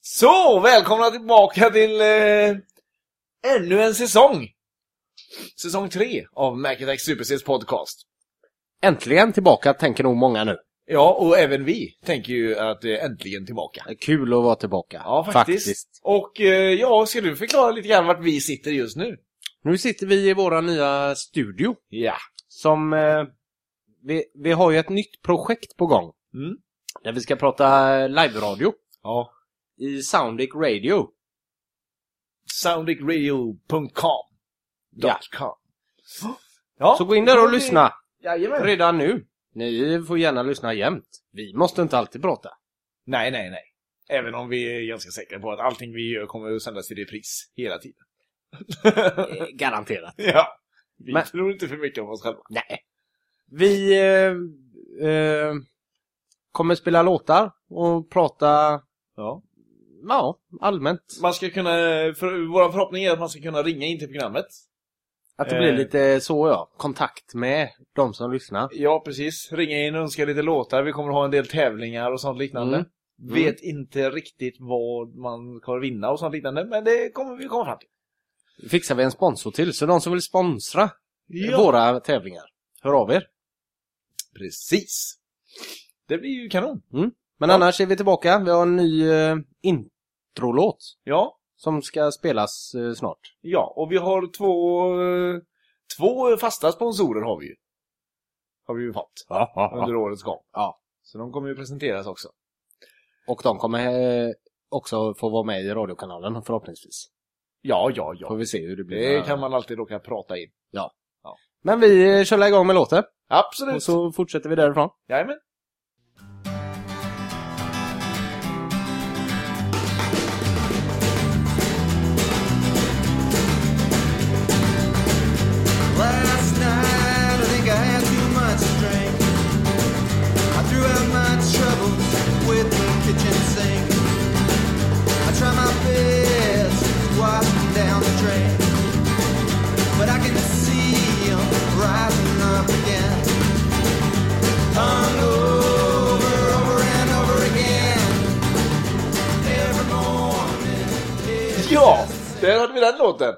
Så, välkomna tillbaka till eh, ännu en säsong. Säsong tre av Mac Attack Supersins podcast. Äntligen tillbaka, tänker nog många nu. Ja, och även vi tänker ju att det är äntligen tillbaka. Det är Kul att vara tillbaka. Ja, faktiskt. Och eh, ja, ska du förklara lite grann vart vi sitter just nu? Nu sitter vi i våra nya studio. Ja. Som... Eh, vi, vi har ju ett nytt projekt på gång. Mm. Där vi ska prata eh, live-radio. Ja. I Soundic Radio. Soundicradio.com. Ja. .com. Ja. Så gå in där och lyssna. Jajamän. Redan nu. Ni får gärna lyssna jämt. Vi måste inte alltid prata. Nej, nej, nej. Även om vi är ganska säkra på att allting vi gör kommer att sändas i repris hela tiden. Eh, Garanterat. ja. Vi Men- tror inte för mycket om oss själva. Nej. Vi eh, eh, kommer spela låtar och prata, Ja. ja, allmänt. Man ska kunna, för, vår förhoppning är att man ska kunna ringa in till programmet. Att det blir Eh. lite så ja, kontakt med de som lyssnar. Ja, precis. Ringa in och önska lite låtar. Vi kommer ha en del tävlingar och sånt liknande. Mm. Mm. Vet inte riktigt vad man kommer vinna och sånt liknande, men det kommer vi komma fram till. Fixar vi en sponsor till, så de som vill sponsra Vår- våra tävlingar, hör av er. Precis. Det blir ju kanon. Men Ja. annars är vi tillbaka, vi har en ny eh, introlåt Ja, som ska spelas eh, snart. ja. Och vi har två, eh, två fasta sponsorer har vi ju. Har vi ju fått under årets gång. Ja. Så de kommer ju presenteras också. Och de kommer eh, också få vara med i radiokanalen förhoppningsvis. Ja, ja, ja. Får vi se hur det blir. Det kan man alltid råka prata in. Men vi eh, kör igång med låten och Absolut. så fortsätter vi därifrån. Jajamän. Last night, I think I had too much to drink. I threw out my troubles with the kitchen sink. I tried my best to wash them down the drain, but I can see 'em rising up again. Hung over, over and over again. Every morning, it's Ja, där hade vi den låten.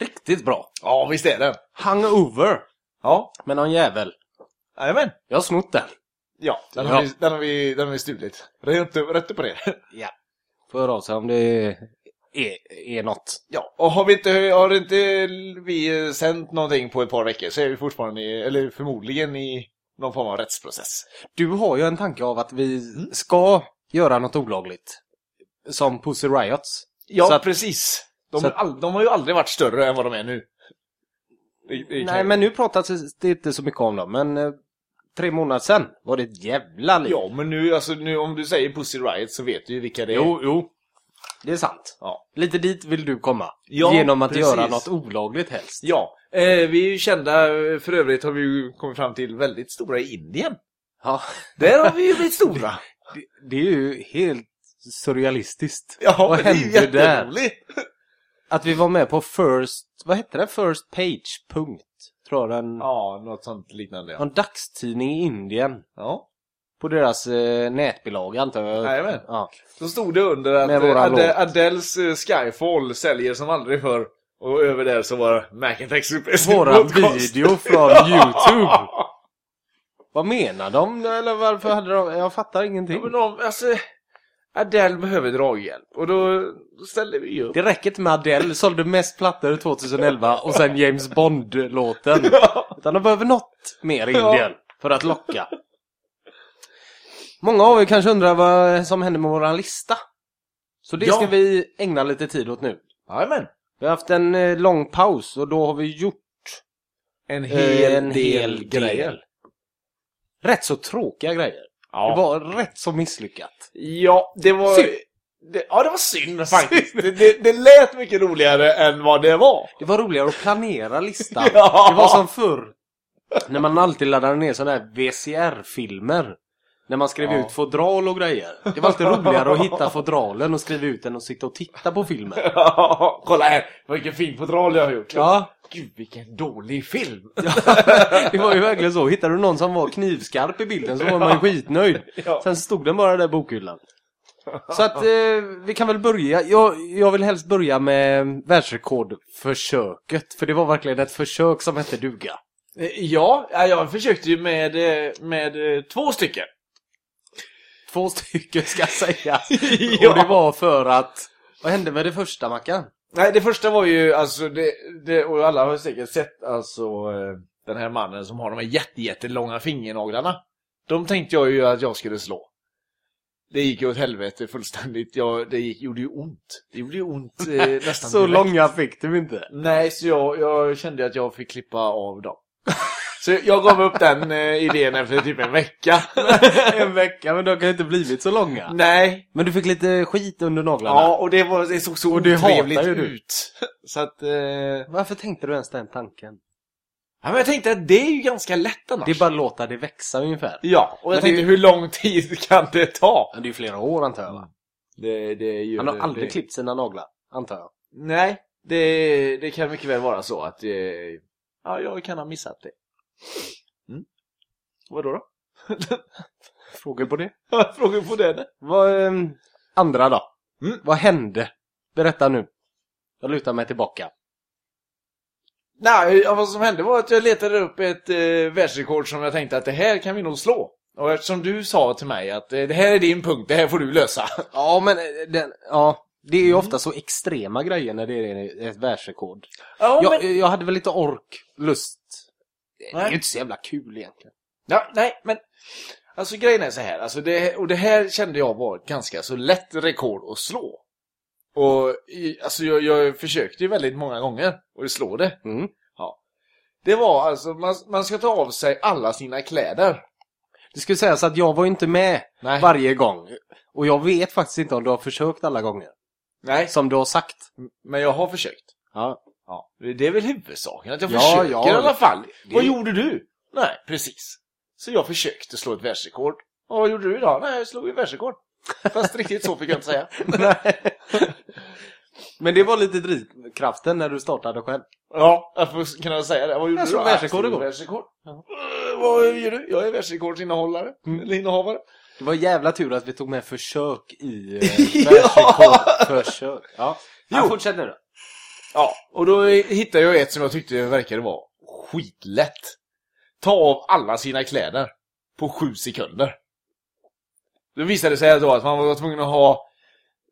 Riktigt bra! Ja, visst är den. Hangover! Ja, Men någon jävel, jajamän. jag har snott den. Ja, den Ja. har, vi, den har, vi, den har vi stulit. Rätt upp, rätt upp på det. Får höra av sig om det är, är något. Ja, och har vi inte, har inte vi eh, sänt någonting på ett par veckor så är vi fortfarande, i, eller förmodligen i någon form av rättsprocess. Du har ju en tanke av att vi Mm. ska göra något olagligt. Som Pussy Riots. Ja, Så att- precis. De, så att- all, de har ju aldrig varit större än vad de är nu. Det- det kan Nej, jag- men nu pratas det inte så mycket om dem. Men eh, tre månader sedan var det ett jävla liv. Ja, men nu, alltså, nu om du säger Pussy Riot så vet du ju vilka det är. jo, jo. Det är sant. Ja. Lite dit vill du komma. Ja, Genom att precis. göra något olagligt helst. Ja, eh, vi är ju kända, eh, för övrigt har vi ju kommit fram till väldigt stora i Indien. Ja, Där har vi ju blivit stora. det, det är ju helt surrealistiskt. Ja, Vad men det är ju hände där? jätteroligt. Att vi var med på First... Vad hette det? First Page. Punkt. Tror jag den... Ja, något sånt liknande. Ja. En dagstidning i Indien. ja. På deras eh, nätbilaga antar jag. Jajamän. Ja. Då stod det under att Med våran eh, Ade- låt. Adeles eh, Skyfall säljer som aldrig förr. Och över där så var Macintax Super Våran video från Youtube. Vad menar de? Eller varför hade de? Jag fattar ingenting. Men de, alltså, Adele behöver draghjälp. Och då ställde vi ju upp. Det räcker inte med Adele sålde mest plattor 2011 och sen James Bond-låten. Utan de behöver något mer i Ja. Indien för att locka. Många av er kanske undrar vad som händer med våran lista. Så det Ja. ska vi ägna lite tid åt nu. Jajamän. Vi har haft en eh, lång paus och då har vi gjort En Eh, hel en del hel grejer. del. Rätt så tråkiga grejer. Ja. Det var rätt så misslyckat. Ja, det var... Synd. Det, ja, det var synd faktiskt. Det, det, det lät mycket roligare än vad det var. Det var roligare att planera listan. Ja. Det var som förr. När man alltid laddade ner sådana här VCR-filmer. När man skrev Ja. ut fodral och grejer. Det var alltid roligare att hitta fodralen och skriva ut den och sitta och titta på filmen. Kolla här, vilken fin fodral jag har gjort. Ja, Gud, vilken dålig film. det var ju verkligen så. Hittade du någon som var knivskarp i bilden så var man ju skitnöjd. Ja. Sen stod den bara där i bokhyllan. Så att eh, vi kan väl börja. Jag, jag vill helst börja med världsrekordförsöket. För det var verkligen ett försök som hette duga. Eh, Ja, ja, jag försökte ju med, eh, med eh, två stycken. Två stycken ska sägas. Ja. Och det var för att... Vad hände med det första Mackan? Nej, det första var ju alltså, det, det, och alla har säkert sett alltså eh, den här mannen som har de här jätte, jättelånga fingernaglarna. De tänkte jag ju att jag skulle slå. Det gick ju åt helvete fullständigt. Jag, det gick, gjorde ju ont. Det gjorde ju ont eh, nästan Så direkt. långa fick du inte. Nej, så jag, jag kände att jag fick klippa av dem. Så jag gav upp den eh, idén efter typ en vecka. En vecka, men de kan inte blivit så långa. Nej, Men du fick lite skit under naglarna. ja, och det, var, det såg så Och det hatar otrevligt ju du. ut. Så att... Eh... Varför tänkte du ens den tanken? Ja, men jag tänkte att det är ju ganska lätt annars. Det är bara att låta det växa ungefär. Ja, och jag Men det- tänkte hur lång tid kan det ta? Men det är ju flera år antar jag va? Det, det är ju, Han har aldrig det, klippt sina naglar, antar jag. Nej, det, det kan mycket väl vara så att eh, ja, jag kan ha missat det. Mm. Vadå då? Frågor på det? Frågor på den? Vad, ehm, andra då? Mm. Vad hände? Berätta nu. Jag lutar mig tillbaka. Nej, ja, vad som hände var att jag letade upp ett eh, världsrekord som jag tänkte att det här kan vi nog slå. Och eftersom du sa till mig att eh, det här är din punkt, det här får du lösa. Ja, men eh, den, ja. Det är ju ofta så extrema grejer när det är ett världsrekord. Ja, jag, men... jag hade väl lite ork, lust. Det är Nej. ju inte så jävla kul egentligen. Ja, nej, men alltså grejen är så här, alltså det, och det här kände jag var ett ganska så lätt rekord att slå. Och i, alltså jag, jag försökte ju väldigt många gånger och slå det. Mm. Det var alltså, man, man ska ta av sig alla sina kläder. Det skulle sägas att jag var ju inte med Nej, varje gång. Och jag vet faktiskt inte om du har försökt alla gånger. nej, Som du har sagt. men jag har försökt. Ja. Ja, det är väl huvudsaken, att jag Ja, försöker ja, i alla fall. det- Vad gjorde du? Nej, precis. Så jag försökte slå ett världsrekord. Och vad gjorde du då? Nej, jag slog ett världsrekord. Fast riktigt så fick jag inte säga. Nej. Men det var lite drivkraften när du startade själv. Ja, jag får kunna säga det. Vad gjorde Jag du slog då? världsrekord Jag slog igår. världsrekord. Ja. Eh, Vad gör du? Jag är världsrekordsinnehållare. Mm. Eller innehavare. Det var jävla tur att vi tog med försök i eh, Ja. världsrekordförsök. Ja. Jo. Ja, fortsätt nu då. Ja, och då hittade jag ett som jag tyckte verkade vara skitlätt. Ta av alla sina kläder på sju sekunder. Då visade det sig då att man var tvungen att ha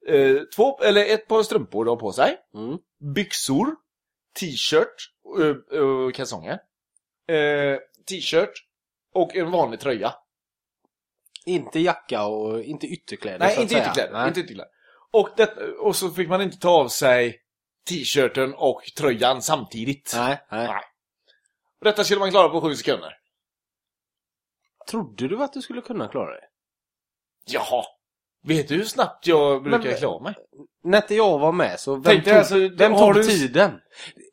eh, två, eller ett par strumpor då på sig, Mm. byxor, t-shirt och eh, kalsonger, eh, t-shirt och en vanlig tröja. Inte jacka och inte ytterkläder så Nej, att inte säga. ytterkläder. Nej. Inte ytterkläder. Och, det, och så fick man inte ta av sig t-shirten och tröjan samtidigt. Nej, nej. Och detta skulle man klara på sju sekunder. Trodde du att du skulle kunna klara det? Jaha. Vet du hur snabbt jag brukar Men- klara mig? När inte jag var med så, vem Tänkte tog, jag, alltså, vem har tog du- tiden?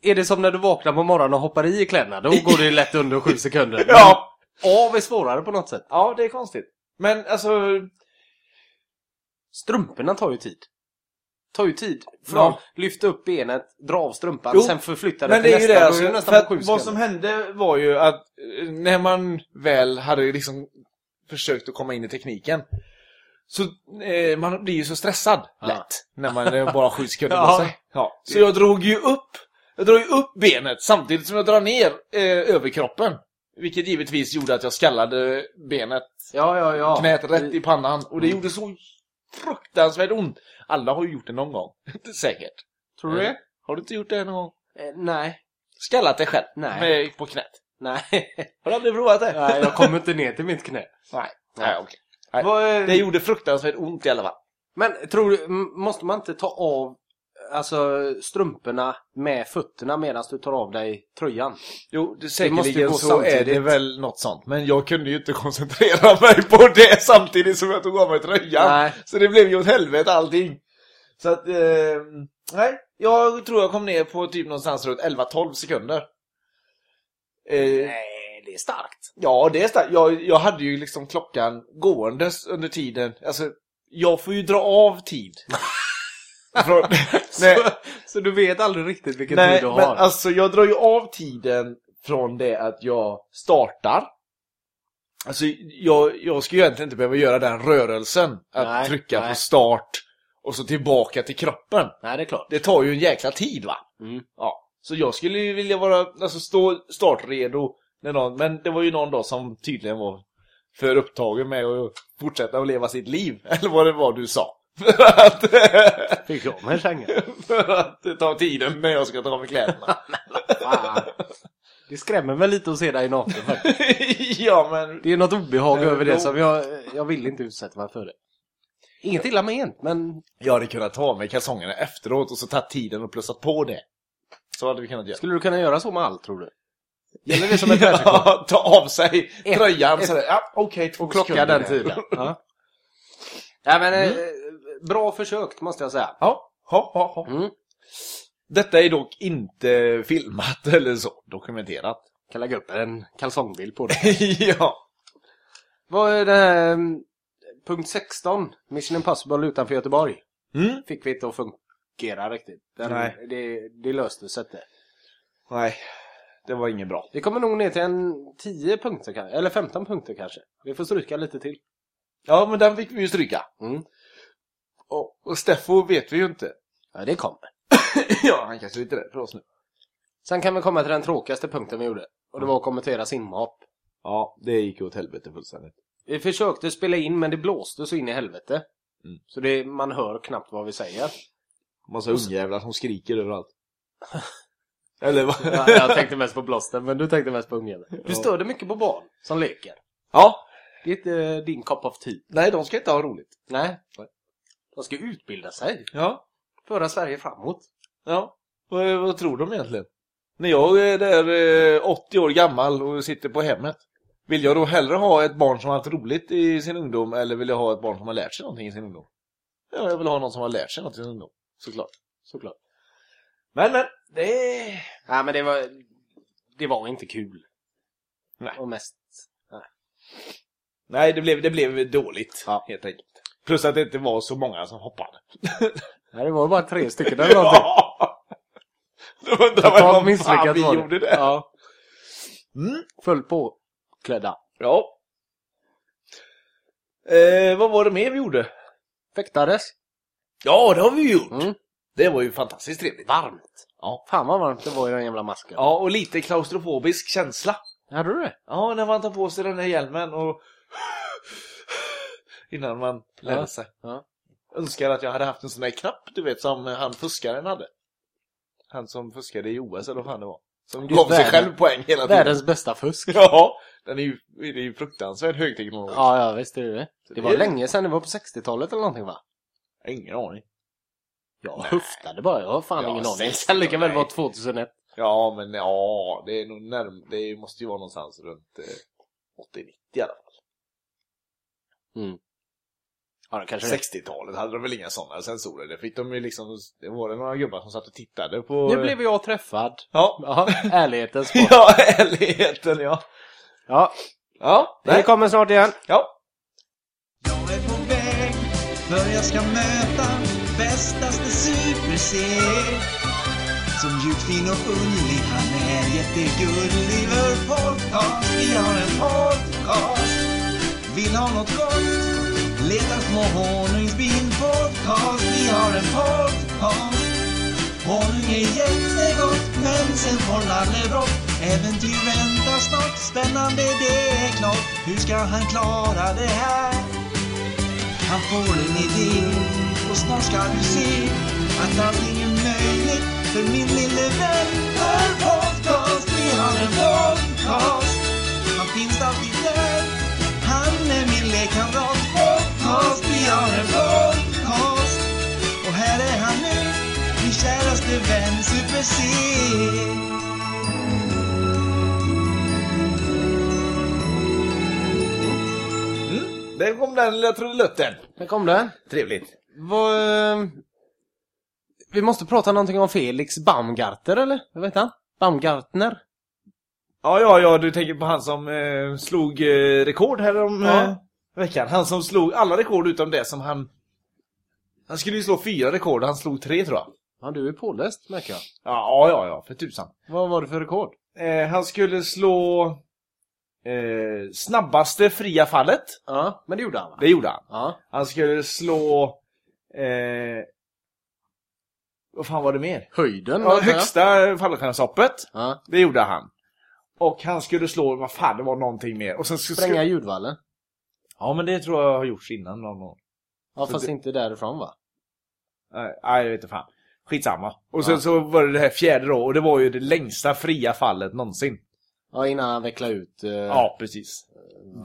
Är det som när du vaknar på morgonen och hoppar i kläderna? Då går det lätt under sju sekunder. Ja! Men Av är svårare på något sätt. Ja, det är konstigt. Men alltså... Strumporna tar ju tid. Tar ju tid. Från Ja. lyfta upp benet, dra av strumpan, Jo, sen förflytta det Men till det är ju nästa. det Då alltså. är det För nästan att på sju vad som sekunder. hände var ju att eh, när man väl hade liksom försökt att komma in i tekniken så eh, man blir ju så stressad Ja. lätt när man eh, bara har sju sekunder på Ja. sig. Ja. Så jag drog ju upp jag drog ju upp benet samtidigt som jag drar ner eh, överkroppen. Vilket givetvis gjorde att jag skallade benet Ja, ja, ja. Mm. knät rätt i pannan och det gjorde så fruktansvärt ont. Alla har ju gjort det någon gång, inte säkert. Mm. Tror du det? Har du inte gjort det någon gång? Eh, nej. Skallat dig själv Nej. Med, på knät. Nej. Har du aldrig provat det? nej, jag kommer inte ner till mitt knä. Nej. Nej, okej. Nej. Vad, eh, Det gjorde fruktansvärt ont i alla fall. Men tror du, m- måste man inte ta av alltså, strumporna med fötterna medan du tar av dig tröjan? Jo, det, måste ju säkerligen gå så är det samtidigt. väl något sånt. Men jag kunde ju inte koncentrera mig på det samtidigt som jag tog av mig tröjan. Nej. Så det blev ju åt helvete allting. Så att, eh, nej. Jag tror jag kom ner på typ någonstans runt 11-12 sekunder. Eh, Nej, det är starkt. Ja, det är starkt. Jag, jag hade ju liksom klockan gåendes under tiden. Alltså, jag får ju dra av tid. Från, nej, Så, så du vet aldrig riktigt vilken nej tid du men har. alltså jag drar ju av tiden från det att jag startar Alltså, jag, jag ska ju egentligen inte behöva göra den rörelsen. Att Nej, trycka på nej. start och så tillbaka till kroppen. Nej, det är klart. Det tar ju en jäkla tid va? Mm. Ja. Så jag skulle ju vilja vara, alltså stå startredo när någon, men det var ju någon dag som tydligen var för upptagen med att fortsätta att leva sitt liv. Eller vad det var du sa. För att, Fick jag mig sängen? för att ta tiden när jag ska ta av mig kläderna. Fan. Det skrämmer mig lite att se dig naken faktiskt. ja men, Det är något obehag Nej, över det då- som jag, jag vill inte utsätta mig för det. Inget illa ment, men jag hade kunnat ta av mig kalsongerna efteråt och så tagit tiden och plussat på det. Så hade vi kunnat göra. skulle du kunna göra så med allt tror du? Gäller det som ett världsrekord? Ja, ta av sig Ett- tröjan ett- sådär. Ja, okej, två Och klocka sekunder. den tiden. Ja. Nej men, eh, bra försökt måste jag säga. Ja, ha, ha, ha. Mm. Detta är dock inte filmat eller så, dokumenterat. Kan lägga upp en kalsongbild på det. ja. Vad är det här, mm, punkt 16, Mission Impossible utanför Göteborg? Mm. Fick vi inte att fungera riktigt. Den, Nej. Det, det löste sig inte. Nej, det var inget bra. Vi kommer nog ner till en 10 punkter kanske, eller 15 punkter kanske. Vi får stryka lite till. Ja, men den fick vi ju stryka. Mm. Och, och Steffo vet vi ju inte. Ja, det kommer. ja, han kanske är lite rädd för oss nu. Sen kan vi komma till den tråkigaste punkten vi gjorde. Och det var att kommentera simhopp. Ja, det gick ju åt helvete fullständigt. Vi försökte spela in men det blåste så in i helvete. Mm. Så det, man hör knappt vad vi säger. Massa ungjävlar som skriker överallt. eller vad? Ja, jag tänkte mest på blåsten men du tänkte mest på ungen. Du Ja. störde mycket på barn som leker. ja, Det är inte eh, din cup of tea. nej de ska inte ha roligt. Nej. De ska utbilda sig. Ja. Föra Sverige framåt. Ja, vad, vad tror de egentligen? När jag är där eh, 80 år gammal och sitter på hemmet, vill jag då hellre ha ett barn som har haft roligt i sin ungdom eller vill jag ha ett barn som har lärt sig någonting i sin ungdom? Ja, jag vill ha någon som har lärt sig något i sin ungdom, såklart. Såklart. Men, men, det... Nej men det var, det var inte kul. Nej. Och mest. Nej, det blev, det blev dåligt, Ja. helt enkelt. Plus att det inte var så många som hoppade. Nej det var bara tre stycken eller någonting. Ja! Då undrar Totalt man vad fan misslyckat vi var det. gjorde det. Ja. Mm. Föll på klädda. Ja. Eh, vad var det mer vi gjorde? Fäktades. Ja, det har vi ju gjort. Mm. Det var ju fantastiskt trevligt. Varmt. Ja. Fan vad varmt det var i den jävla masken. Ja, och lite klaustrofobisk känsla. Hade du det? Ja, när man tar på sig den här hjälmen och... Innan man lärde Ja, sig. ja. Önskar att jag hade haft en sån där knapp, du vet, som han fuskaren hade. Han som fuskade i OS eller vad fan det var. Som Det är gav sig världen- själv poäng hela tiden. Världens bästa fusk. Ja, den är ju, det är ju fruktansvärt högteknologisk. Ja, ja visst är det det. Det var Det- länge sedan, det var på 60-talet eller någonting va? Jag har Ingen aning. Jag Nej. höftade bara, jag har fan Ja, ingen aning. 60, Sen det kan väl nej. vara 2001. Ja, men ja, det är nog närm... Det måste ju vara någonstans runt eh, 80-90 i alla fall. Ja, det kanske det. 60-talet hade de väl inga sådana sensorer. Det fick de ju liksom, det var det några gubbar som satt och tittade på... Nu blev jag träffad. Ja. Ja, ärlighetens svar. Ja, ärligheten ja. Ja, Ja, vi kommer snart igen. ja. Jag är på väg för jag ska möta bästaste super-C Som ljudfin och underlig han är jättegullig Vår podcast, vi har en podcast Vill ha något gott? Leta små honungsbin podcast Vi har en podcast Honung är jättegott men sen får Nalle brått Äventyr väntar snart, spännande det är klart Hur ska han klara det här? Han får en idé och snart ska du se att allting är möjligt för min lille vän. En podcast, vi har en podcast. Han finns alltid där. Han är min lekkamrat. Podcast, vi har en podcast. Och här är han nu, min käraste vän Super-C. Mm. Där kom den lilla trudelutten. Där kom den. Trevligt. Vad... eh, Vi måste prata någonting om Felix Baumgartner eller? Vad heter han? Baumgartner? Ja, ja, ja, du tänker på han som eh, slog eh, rekord här om Ja. eh, veckan. Han som slog alla rekord utom det som han... Han skulle ju slå fyra rekord, han slog tre tror jag. Ja, du är påläst märker jag. Ja, ja, ja, för tusan. Vad var det för rekord? Eh, han skulle slå... eh, snabbaste fria fallet. Ja, men det gjorde han va? Det gjorde han. Ja. Han skulle slå... Eh, vad fan var det mer? Höjden? Ja, antar jag. högsta fallskärmshoppet. Ja. Det gjorde han. Och han skulle slå, vad fan det var någonting mer. Och sen skulle... Spränga ljudvallen? Ja men det tror jag har gjorts innan någon gång. Ja, Så fast det- inte därifrån va? Nej, nej, jag vet inte fan. Skitsamma. Och sen Ja. så var det det här fjärde då, och det var ju det längsta fria fallet någonsin. Ja, innan han vecklade ut... eh, Ja, precis.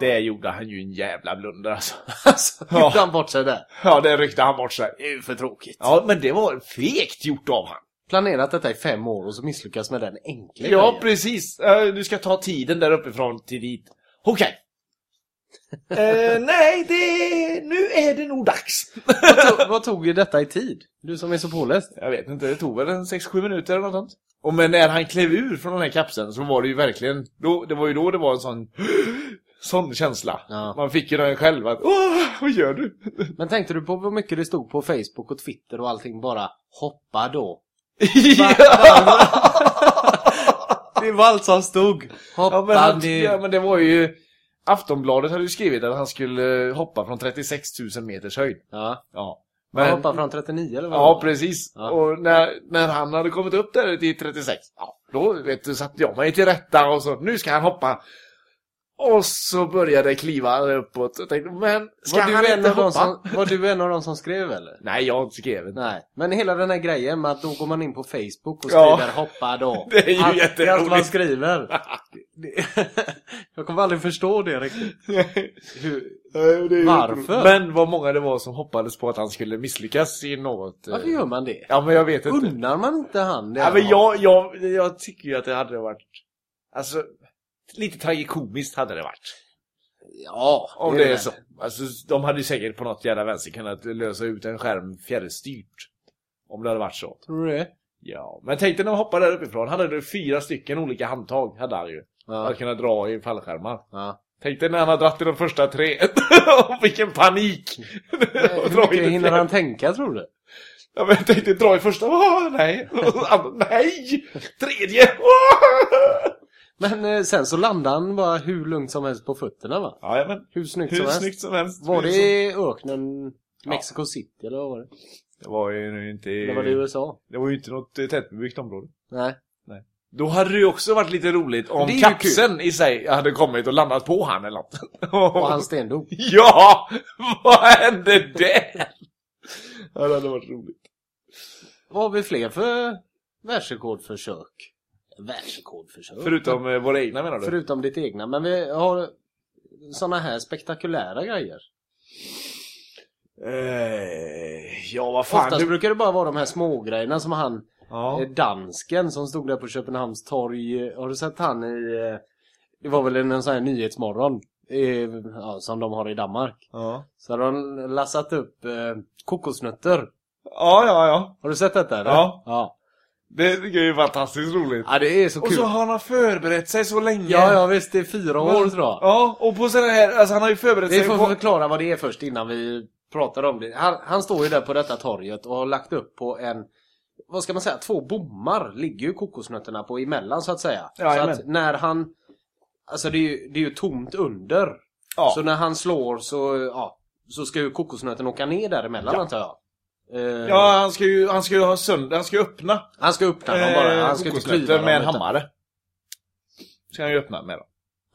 Det gjorde han ju en jävla blunder alltså. Alltså, Ja. gjorde han bort sig där. Ja, det ryckte han bort sig. Det är ju för tråkigt. Ja, men det var fegt gjort av han. Planerat detta i fem år och så misslyckas med den enkla Ja, grejen. precis. Eh, Du ska ta tiden där uppifrån till dit. Okej. eh, nej, det... nu är det nog dags. vad, tog, vad tog ju detta i tid? Du som är så påläst. Jag vet inte, det tog väl en 6-7 minuter eller något sånt. Och men när han klev ur från den här kapseln så var det ju verkligen, då, det var ju då det var en sån, sån känsla. Ja. Man fick ju den själv att, åh, vad gör du? Men tänkte du på hur mycket det stod på Facebook och Twitter och allting bara hoppa då? Det var allt som stod. Hoppa ja, men han, nu. ja, men det var ju, Aftonbladet hade ju skrivit att han skulle hoppa från 36 000 meters höjd. Ja, Ja. han Men- hoppade från 39 eller vad Ja, det var? precis. Ja. Och när, när han hade kommit upp där till 36, ja, då vet du, satte jag mig till rätta och så, nu ska han hoppa. Och så började det kliva uppåt. Jag tänkte, men ska Var han du, en inte av hoppa? de som, var du en av de som skrev eller? Nej, jag skrev inte. Nej, men hela den här grejen med att då går man in på Facebook och Ja. skriver hoppa då. Det är ju Allt- Det är allt jätteroligt. man skriver. Det- Jag kommer aldrig förstå det riktigt. Hur, Varför? Men vad många det var som hoppades på att han skulle misslyckas i något. eh, varför gör man det? Ja, men jag vet inte. Unnar man inte han det? ja, han men har? jag, jag, jag tycker ju att det hade varit, alltså, lite tragikomiskt hade det varit. Ja, Om det är väl. så. Alltså, de hade ju säkert på något jävla vänster kunnat lösa ut en skärm fjärrstyrt. Om det hade varit så. Tror du det? Ja, men tänk dig när de hoppade där uppifrån. Han hade ju fyra stycken olika handtag. Hade han ju. Ja. Att kunna dra i fallskärmar. ja. Tänk dig när han har dratt i de första tre. Och Vilken panik! Och Hur dra i det mycket hinner fjärde. han tänka tror du? Ja, men tänk dig dra i första. Åh, nej! Och andra, nej! Tredje! Åh! Men eh, sen så landade han bara hur lugnt som helst på fötterna va? Ja, men Hur snyggt hur som helst. snyggt som helst. Var det i öknen Mexico City eller vad var det? Det var ju nu inte... Eller var det i USA? Det var ju inte något eh, tätbebyggt område. Nej. Då hade det ju också varit lite roligt om Det är ju kapseln i sig hade kommit och landat på han eller något. Och han stendog. Ja! Vad hände där? Ja, det hade varit roligt. Vad har vi fler för världsrekordförsök? Världsrekordförsök? Förutom eh, våra egna menar du? Förutom ditt egna. Men vi har såna här spektakulära grejer. Eh, ja, vad fan. Oftast Du... brukar det bara vara de här smågrejerna som han Ja. Eh, dansken som stod där på Köpenhamns torg. eh, Har du sett han i... eh, Det var väl en en sån här nyhetsmorgon eh, ja, som de har i Danmark. Ja. Så hade de lassat upp eh, kokosnötter. ja, ja, ja. Har du sett detta? Eller? Ja. ja. Det tycker jag är ju fantastiskt roligt. Ja, det är så Och kul. så har han förberett sig så länge. Ja, ja visst. Det är fyra år tror jag. Ja, och på sådana här, alltså han har ju förberett Vi sig får på... förklara vad det är först innan vi pratar om det. Han, han står ju där på detta torget och har lagt upp på en, vad ska man säga, två bommar ligger ju kokosnötterna på emellan så att säga. Ja, så jajamän. att när han, alltså det är ju, det är ju tomt under. Ja. Så när han slår så, ja, så ska ju kokosnöten åka ner däremellan Ja. antar jag. Eh, Ja, han ska ju, han ska ju ha sönder, han ska ju öppna. Han ska öppna dem bara, Eh, han ska inte kokosnötter klyva dem. med en utan- hammare. Ska han ju öppna med då.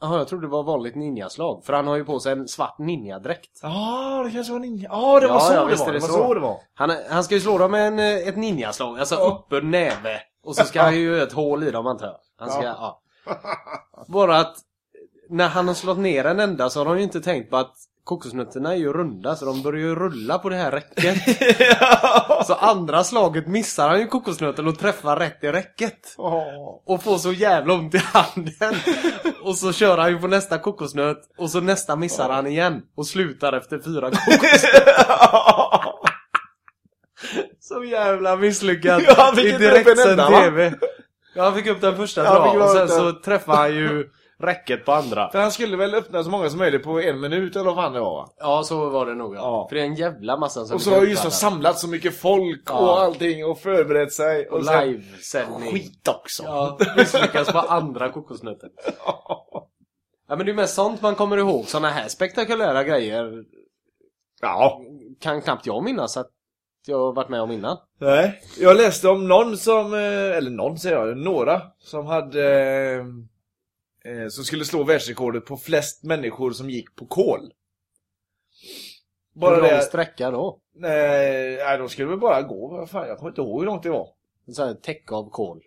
Jaha, jag trodde det var vanligt ninjaslag. För han har ju på sig en svart ninjadräkt. Ja, det kanske var ninja. Ja, det var Ja, så ja, det visst var. är Det det var så. så det var. Han, han ska ju slå dem med en, eh, ett ninjaslag, alltså Ja. uppe näve. Och så ska han ju göra ett hål i dem antar jag. Han ska, ja. Bara att när han har slått ner en enda så har de ju inte tänkt på att kokosnötterna är ju runda så de börjar ju rulla på det här räcket. Så andra slaget missar han ju kokosnöten och träffar rätt i räcket. Ja. Och får så jävla ont i handen. Och så kör han ju på nästa kokosnöt och så nästa missar han igen. Och slutar efter fyra kokosnötter. Så jävla misslyckat Ja, han fick i inte upp en direktsänd enda, va? TV. Ja, han fick upp den första Ja, han fick bra och bara sen upp den. så träffade han ju räcket på andra. För han skulle väl öppna så många som möjligt på en minut eller vad fan det var va? Ja, så var det nog ja. Ja. För det är en jävla massa som Och så fick har upp ju så den här. samlat så mycket folk och Ja. allting och förberett sig. Och Och sen- livesändning. Skit också. Ja, misslyckas på andra kokosnötter. Ja men det är mest sånt man kommer ihåg. Såna här spektakulära grejer Ja. kan knappt jag minnas att jag har varit med om innan. Nej. Jag läste om någon som, eh, eller någon säger jag, några som hade eh, eh, som skulle slå världsrekordet på flest människor som gick på kol. Hur Bara lång det, sträcka då? nej, nej, de skulle väl bara gå, vad fan, jag kommer inte ihåg hur långt det var. Så här, täcke av kol.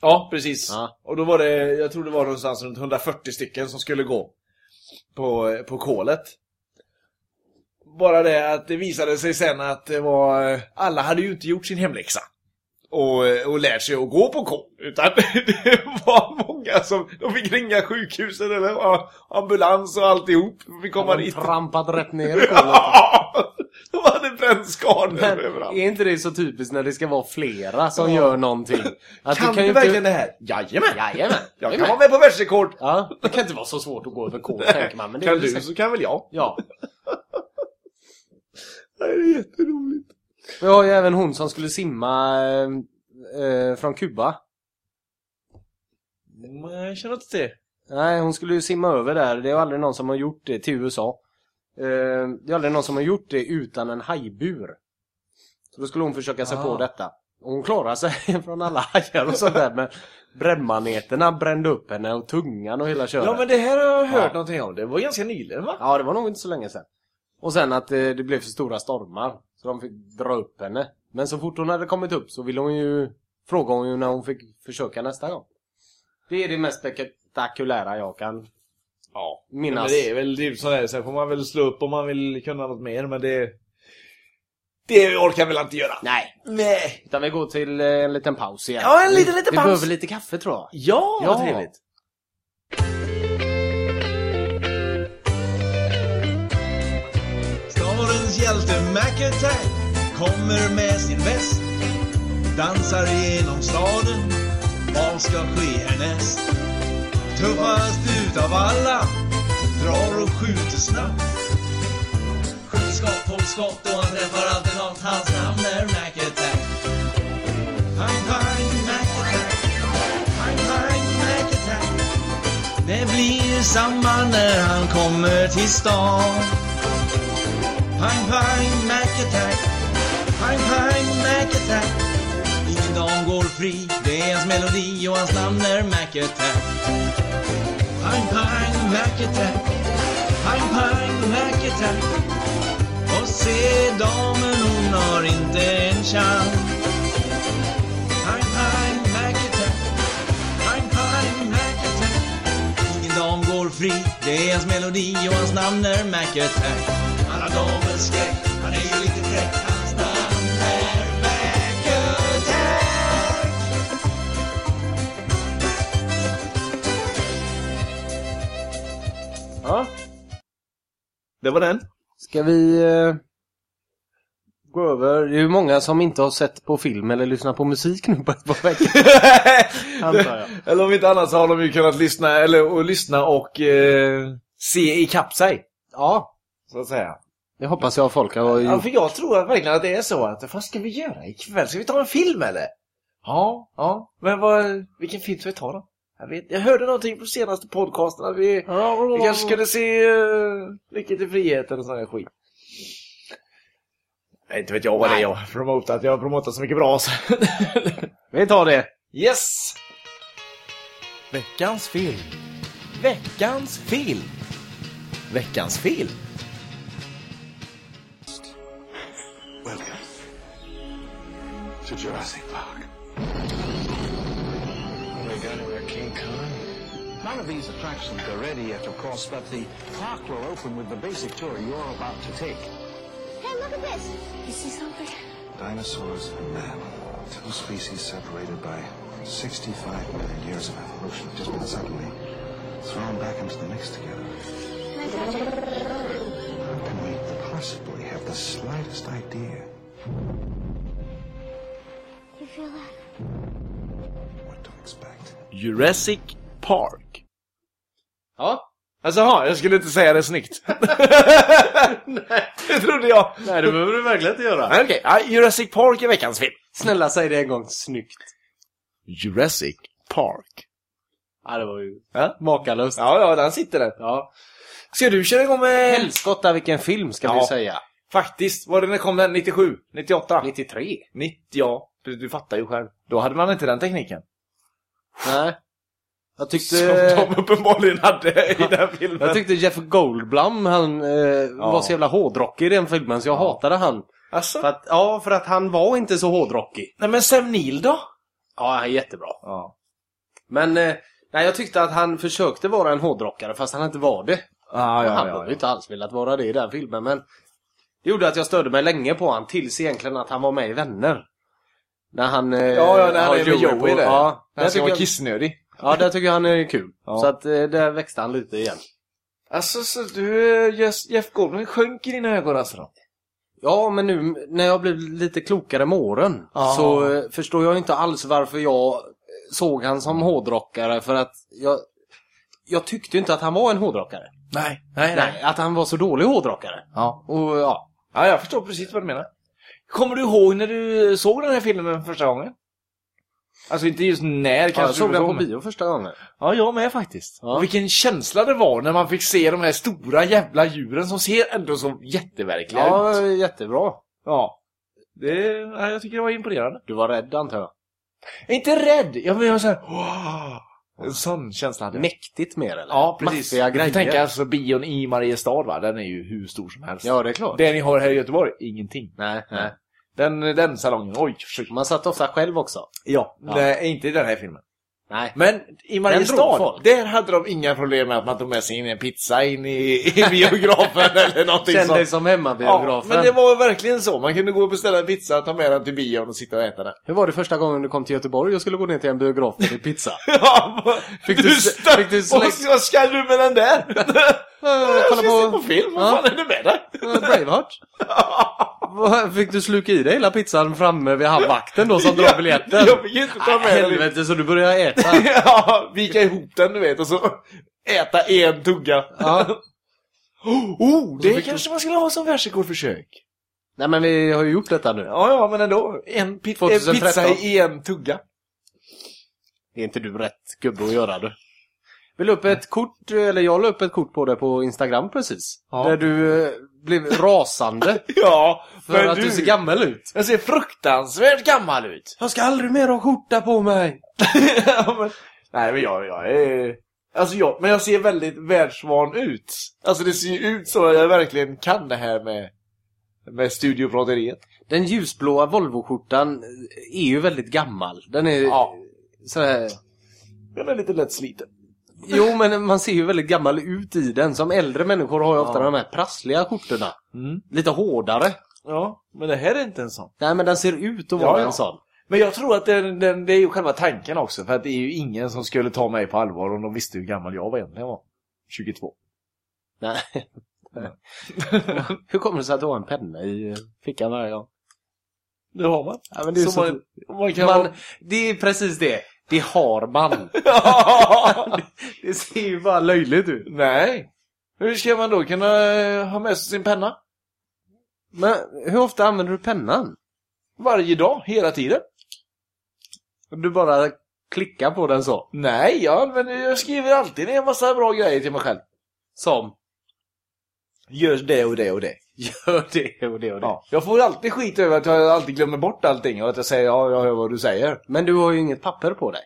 Ja, precis. Ja. Och då var det, jag tror det var någonstans runt 140 stycken som skulle gå på, på kolet. Bara det att det visade sig sen att det var, alla hade ju inte gjort sin hemläxa. Och, och lärt sig att gå på kol. Utan det var många som, de fick ringa sjukhuset eller ja, ambulans och alltihop. Vi komma Har de dit. trampat rätt ner i kolet? Ja, de hade brännskador Men överallt. är inte det så typiskt när det ska vara flera som gör någonting? Att Kan ju du inte- verkligen det här? Jajamän! Jajamän! Jag Jag kan vara med på världsrekord! Ja, det kan inte vara så svårt att gå över kol, tänker man. Men det är Kan det du säkert. så kan väl jag. Ja. Det är jätteroligt. Vi har ju även hon som skulle simma eh, eh, från Kuba. Jag känner inte till det. Nej, hon skulle ju simma över där. Det är ju aldrig någon som har gjort det till USA. Eh, det är aldrig någon som har gjort det utan en hajbur. Så då skulle hon försöka sig Ah. på detta. Och hon klarade sig från alla hajar och sånt där. Men brännmaneterna brände upp henne och tungan och hela köret. Ja men det här har jag hört Ja. någonting om. Det var ganska nyligen va? Ja, det var nog inte så länge sedan. Och sen att eh, det blev för stora stormar. Så de fick dra upp henne. Men så fort hon hade kommit upp så ville hon ju... Frågade hon ju när hon fick försöka nästa gång. Det är det mest spektakulära jag kan Ja. minnas. Men det är väl typ sådär. Sen får man väl slå upp om man vill kunna något mer men det... Det orkar väl inte göra. Nej, Nej. utan vi går till eh, en liten paus igen. Ja, en liten, Vi- liten Vi paus. behöver lite kaffe tror jag. Ja, Ja. vad trevligt. Stadens hjälte McAtee kommer med sin väst Dansar genom staden, vad ska ske härnäst? Tuffast utav alla, drar och skjuter snabbt Skjutskott, polskott och han träffar alltid nåt, hans namn är McAtee Pang, pang, McAtee Pang, pang, McAtee Det blir samma när han kommer till stan Pang, pang, Mac-attack Pang, pang, Mac-attack Ingen dam går fri Det är hans melodi och hans namn är Mac-attack Pang, pang, Mac-attack Pang, pang, Mac-attack Och se damen, hon har inte en chans Pang, pang, Mac-attack Pang, pang, Mac-attack Ingen dam går fri, det är hans melodi och hans namn är Mac-attack Alla damers skräck, han är ju lite fräck Hans namn är Mac-attack Ja. Det var den. Ska vi eh, gå över? Det är ju många som inte har sett på film eller lyssnat på musik nu på ett par veckor. Antar jag. eller om inte annat så har de ju kunnat lyssna, eller och lyssna och eh, se ikapp sig. Ja, Så att säga. det hoppas jag folk har Ja, gjort. för jag tror att verkligen att det är så att vad ska vi göra ikväll? Ska vi ta en film eller? Ja, ja. Men vad, vilken film ska vi ta då? Jag, vet, jag hörde någonting på senaste podcasten att vi, vi kanske skulle se uh, Lycka till frihet eller sån där skit. Nej, inte vet jag vad det är jag har promotat. Jag har promotat så mycket bra så. Vi tar det. yes! Veckans film. Veckans film. Veckans film. Welcome to Jurassic Park. We go to a King Kong. None of these attractions are ready yet, of course, but the park will open with the basic tour you're about to take. Hey, look at this. You see something? Dinosaurs and man, two species separated by 65 million years of evolution, just been suddenly thrown back into the mix together. Can I touch it? How can we possibly have the slightest idea You feel that? what to expect? Jurassic Park. Ja. Alltså, ha, jag skulle inte säga det snyggt. Nej, det trodde jag. Nej, det behöver du verkligen inte göra. Nej, okej. Ja, Jurassic Park är veckans film. Snälla, säg det en gång snyggt. Jurassic Park. Ja, det var ju Ja. makalöst. Ja, ja, den sitter där. Ja. Ska du köra igång med... Helskotta vilken film ska Ja. vi säga. Faktiskt, var det när kom den? 97? 98? 93? 90, ja. Du, du fattar ju själv. Då hade man inte den tekniken. Nej. Jag tyckte... Som de uppenbarligen hade i den filmen. Jag tyckte Jeff Goldblum, han eh, var så jävla hårdrockig i den filmen så jag hatade han. Alltså? För att, ja, för att han var inte så hårdrockig. Nej men Sam Neill då? Ja, han är jättebra. Ja. Men eh, nej, jag tyckte att han försökte vara en hårdrockare fast han inte var det. Ah, han ja, hade ja, ju ja. inte alls velat vara det i den filmen men det gjorde att jag störde mig länge på han tills egentligen att han var med i Vänner. När han... eh, Ja, ja, när han har är med Joey på- där. Ja, där Den ska tycker, vara jag, kissnödig. ja, där tycker jag han är kul. Ja. Så att eh, där växte han lite igen. Alltså, så du, eh, Jeff- Jeff Goldblum sjönk i dina ögon alltså då? Ja, men nu när jag blev lite klokare med åren Ja. så eh, förstår jag inte alls varför jag eh, såg han som hårdrockare för att jag, jag tyckte inte att han var en hårdrockare. Nej, nej, Nej, att han var så dålig hårdrockare. Ja. Och ja, ja, jag förstår precis vad du menar. Kommer du ihåg när du såg den här filmen första gången? Alltså inte just när kanske jag du såg den på men- bio första gången. Ja, jag med faktiskt. Ja. Och vilken känsla det var när man fick se de här stora jävla djuren som ser ändå så jätteverkliga Ja, ut. jättebra. Ja. Det, ja, jag tycker det var imponerande. Du var rädd antar jag. Jag är inte rädd! Jag var såhär... Wow! En sån känsla hade jag. Mäktigt mer eller? Ja, precis. Maffiga Du får grejer. tänka alltså bion i Mariestad va, den är ju hur stor som helst. Ja, det är klart. Det ni har här i Göteborg, ingenting. Nej, nej. Den, den salongen, oj! försök. Man satt ofta själv också. Ja, nej, inte i den här filmen. Nej. Men i drog Mariestad, folk. där hade de inga problem med att man tog med sig in en pizza in i, i biografen eller någonting Känn sånt. dig som eh. hemmabiografen. Ja, men det var verkligen så. Man kunde gå och beställa en pizza, ta med den till bion och sitta och äta den. Hur var det första gången du kom till Göteborg och skulle gå ner till en biograf med din pizza? Ja, Fick du- stör- fick du släck- Vad ska- Vad ska du med den där? Eh, Jag ska Kolla se på på film, vad Ja. fan är det med dig? eh, Braveheart. Vad, Fick du sluka i dig hela pizzan framme vid han vakten då som drar biljetten? Jag fick inte ta Nej, med den. helvete, så du började äta. Ja, vika ihop den du vet och så äta en tugga. Ja. Oh, det fick du- kanske man skulle ha som världsrekordförsök. Nej men vi har ju gjort detta nu. Ja, ja, men ändå. En, pi- en 2013. pizza i en tugga. Det är inte du rätt gubbe att göra du. Vi la upp ett kort, eller jag la upp ett kort på det på Instagram precis. Ja. Där du eh, blev rasande Ja, för att du ser gammal ut. Jag ser fruktansvärt gammal ut. Jag ska aldrig mer ha skjorta på mig! Ja, men, nej, men jag, jag är... Alltså jag, men jag ser väldigt världsvan ut. Alltså det ser ju ut som att jag verkligen kan det här med, med studiopratariet. Den ljusblåa Volvo-skjortan är ju väldigt gammal. Den är Ja. så här... Den är lite lätt sliten. Jo, men man ser ju väldigt gammal ut i den. Som äldre människor har ju ofta Ja. de här prassliga skjortorna. Mm. Lite hårdare. Ja, men det här är inte en sån. Nej, men den ser ut att vara Ja, ja. en sån. Men jag tror att den, den, det är ju själva tanken också. För att det är ju ingen som skulle ta mig på allvar om de visste hur gammal jag var egentligen var. 22. Nej. Hur kommer det sig att du har en penna i eh, fickan varje gång? Det har man. Ja, men det är så... man, man kan Man, vara... det är precis det. Det har man. det ser ju bara löjligt ut. Nej. Hur ska man då kunna eh, ha med sig sin penna? Men hur ofta använder du pennan? Varje dag, hela tiden. Du bara klickar på den så. Nej, jag, men jag skriver alltid ner en massa bra grejer till mig själv. Som Gör det och det och det. gör det och det och det. Ja. Jag får alltid skit över att jag alltid glömmer bort allting och att jag säger ja, jag hör vad du säger. Men du har ju inget papper på dig.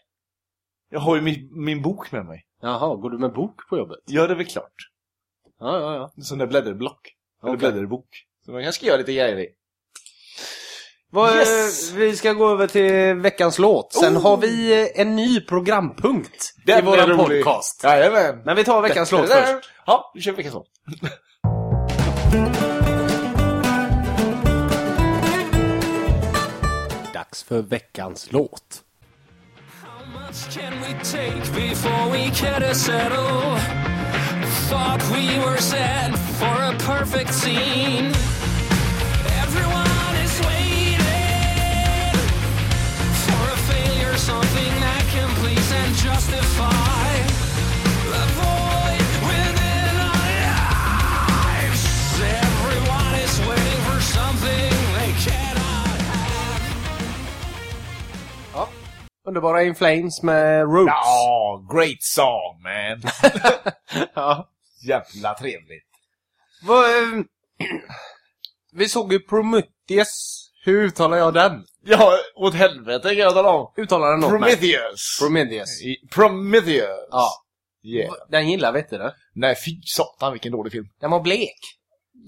Jag har ju min, min bok med mig. Jaha, går du med bok på jobbet? Ja, det är väl klart. Ja, ja, ja. En sån där blädderblock. Eller Okej. blädderbok. Så man kan skriva lite grejer i. Vad, eh, Yes! Vi ska gå över till veckans låt. Sen Oh! har vi eh, en ny programpunkt i Den är vår rolig. podcast. Jajamän. Men vi tar veckans låt först. Ja, vi kör veckans låt. Dags för veckans låt. How much can we take before we get a settle? Thought we were set for a perfect scene. Everyone is waiting for a failure, something that can please and justify the void within our lives. Everyone is waiting for something they cannot have. Underbara In Flames med Roots. Ja, great song man! Ja. Jävla trevligt. Vad, eh, Vi såg ju Prometheus. Hur uttalar jag den? Ja, åt helvete kan jag tala om. Uttalar den åt mig. Prometheus! Prometheus. I- Prometheus! Ja. Yeah. Den gillar vi inte du. Nej, fy satan vilken dålig film. Den var blek.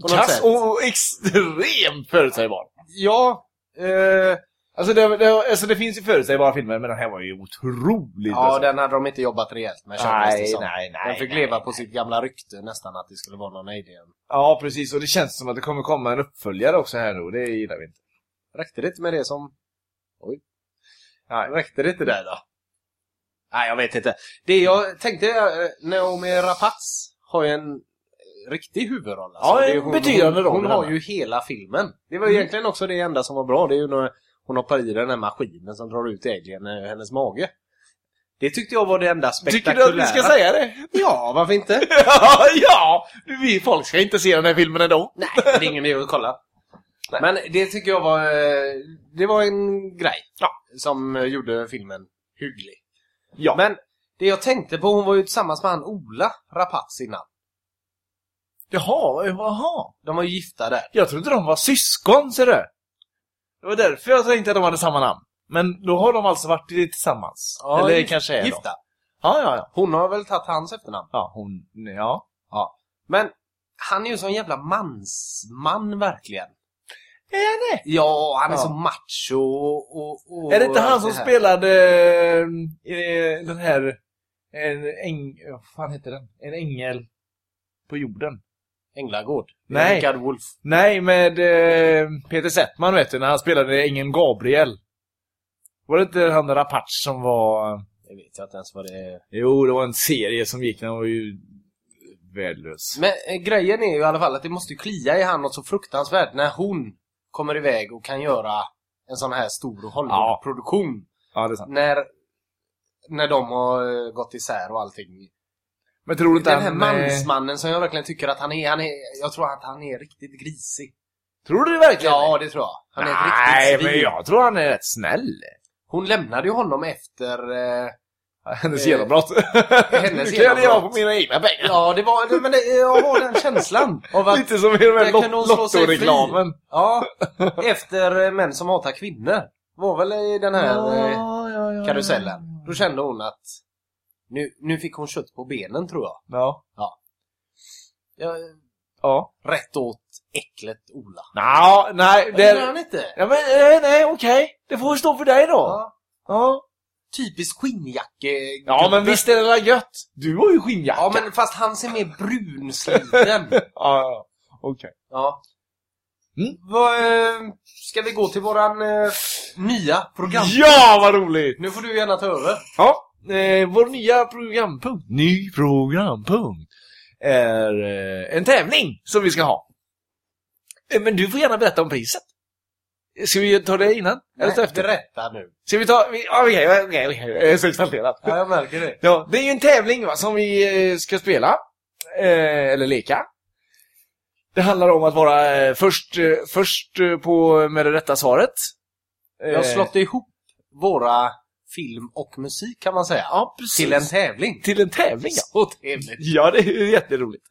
På något Kass sätt. och extremt förutsägbar. Ja. Eh, Alltså det, det, alltså det finns ju förutsägbara filmer, men den här var ju otroligt ja, bra. den hade de inte jobbat rejält med kändes det Nej, som. nej, nej. Den fick nej. leva på sitt gamla rykte nästan att det skulle vara någon alien. Ja, precis. Och det känns som att det kommer komma en uppföljare också här nu. och Det gillar vi inte. Räckte det inte med det som... Oj. Nej. Räckte det inte där då? Nej, jag vet inte. Det jag tänkte, eh, Naomi Rapace har ju en eh, riktig huvudroll. Alltså. Ja, Det är en ju hon, betydande hon, roll Hon i Mm. har denna. ju hela filmen. Det var ju egentligen också det enda som var bra. Det är ju när hon hoppar i den här maskinen som drar ut alien ur hennes mage. Det tyckte jag var det enda Tycker spektakulära. du att vi ska säga det? Ja, varför inte? ja! Vi folk ska inte se den här filmen ändå. Nej, det är ingen idé att kolla. Men det tycker jag var... eh, Det var en grej som eh, gjorde filmen hygglig. Ja. Men det jag tänkte på, hon var ju tillsammans med han Ola Rapace innan. Jaha, jaha. De var ju gifta där. Jag trodde de var syskon, ser du. Det var därför jag tänkte att de hade samma namn. Men då har de alltså varit i- tillsammans. Eller gif- kanske är de. Gifta. Ja, ja, ja. Hon har väl tagit hans efternamn. Ja, hon... Ja. Men han är ju sån jävla mansman verkligen. Är det? Ja, han är Ja. så macho och, och, och... Är det inte han allt som här. spelade eh, den här... En äng... Vad fan heter den? En ängel på jorden. Änglagård? Nej. Richard Wolff. Nej, med eh, Peter Settman vet du, när han spelade ängeln Gabriel. Var det inte han Rapace som var... Jag vet inte ens vad det är. Jo, det var en serie som gick, den var ju värdelös. Men eh, grejen är ju i alla fall att det måste ju klia i han något så fruktansvärt när hon kommer iväg och kan göra en sån här stor Hollywood-produktion. Ja, det är sant. När, när de har eh, gått isär och allting. Men tror du inte Den här han... eh, mansmannen som jag verkligen tycker att han är, han är, jag tror att han är riktigt grisig. Tror du det verkligen? Ja, det tror jag. Han är ett Nej, riktigt men svin. jag tror han är rätt snäll. Hon lämnade ju honom efter... Eh, Hennes Eh, genombrott. hennes Nu kan jag leva genombrott. på mina egna pengar. ja, det var... Men det, jag har den känslan av att... Lite som i den Där här kunde hon lot- slå sig fri. Lotto-reklamen. Ja, efter eh, Män som hatar kvinnor. Var väl i den här... eh, ja, ja, karusellen. Då kände hon att nu, nu fick hon kött på benen tror jag. Ja. jag Ja. rätt åt äcklet Ola. Nå, nej, Det gillar det... han inte. Ja, men, eh, nej, okej. Det får stå för dig då. Ja. Ja. Typisk skinnjacke. Ja, men visst är det där gött? Du har ju skinnjacka. Ja, men fast han ser mer brunsliten. Ja, ja. Okej. ja. Mm. Vad, eh, ska vi gå till våran eh, nya program? Ja, vad roligt! Nu får du gärna ta över. Ja, eh, vår nya programpunkt, ny programpunkt, är eh, en tävling som vi ska ha. Eh, Men du får gärna berätta om priset. Ska vi ta det innan? Eller ta Nej, efter? berätta nu. Ska vi ta... vi- ja, Okej, okej, okej. Jag är så exalterad. Ja, jag märker det. Ja, det är ju en tävling va, som vi eh, ska spela. Eh, eller leka. Det handlar om att vara eh, först, eh, först eh, på med det rätta svaret. Jag har Eh, slått ihop våra film och musik kan man säga. ja, precis. Till en tävling. Eh, till en tävling. Ja. Så trevligt. ja, det är jätteroligt.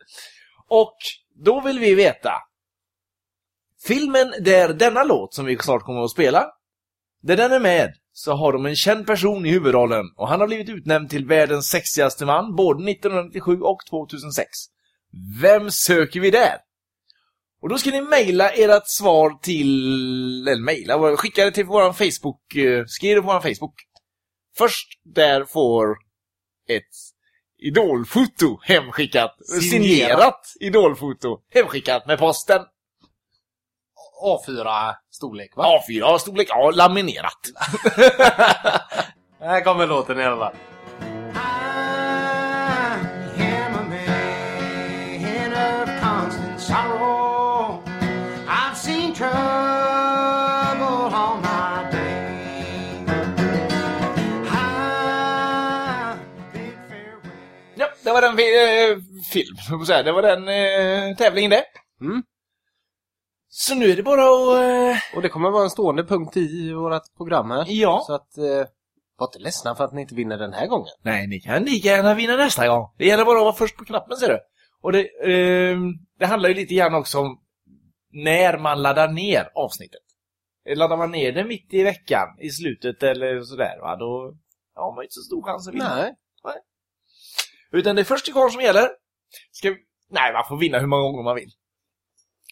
Och då vill vi veta. Filmen där denna låt som vi snart kommer att spela, där den är med så har de en känd person i huvudrollen och han har blivit utnämnd till världens sexigaste man både 1997 och 2006. Vem söker vi där? Och då ska ni mejla ert svar till, eller mejla, skicka det till våran Facebook, eh, skriv det på våran Facebook. Först där får ett idolfoto hemskickat, signerat, idolfoto hemskickat med posten. A4 storlek va? A4, ja, storlek A, laminerat. Här kommer låten i alla fall. I'm am a man of constant sorrow. I've seen trouble all my day. I bid farewell. Ja, det var den fi- eh, film, höll på att säga. det var den eh, tävlingen det. Mm. Så nu är det bara att... Eh, Och det kommer vara en stående punkt i vårt program här. Ja. Så att eh, Var inte ledsna för att ni inte vinner den här gången. Nej, ni kan lika gärna vinna nästa gång. Det gäller bara att vara först på knappen, ser du. Och det, ehm, det handlar ju lite grann också om när man laddar ner avsnittet. Laddar man ner det mitt i veckan, i slutet eller sådär, va? då har man ju inte så stor chans att vinna. Nej. Utan det är först till kvarn som gäller. Ska vi... Nej, man får vinna hur många gånger man vill.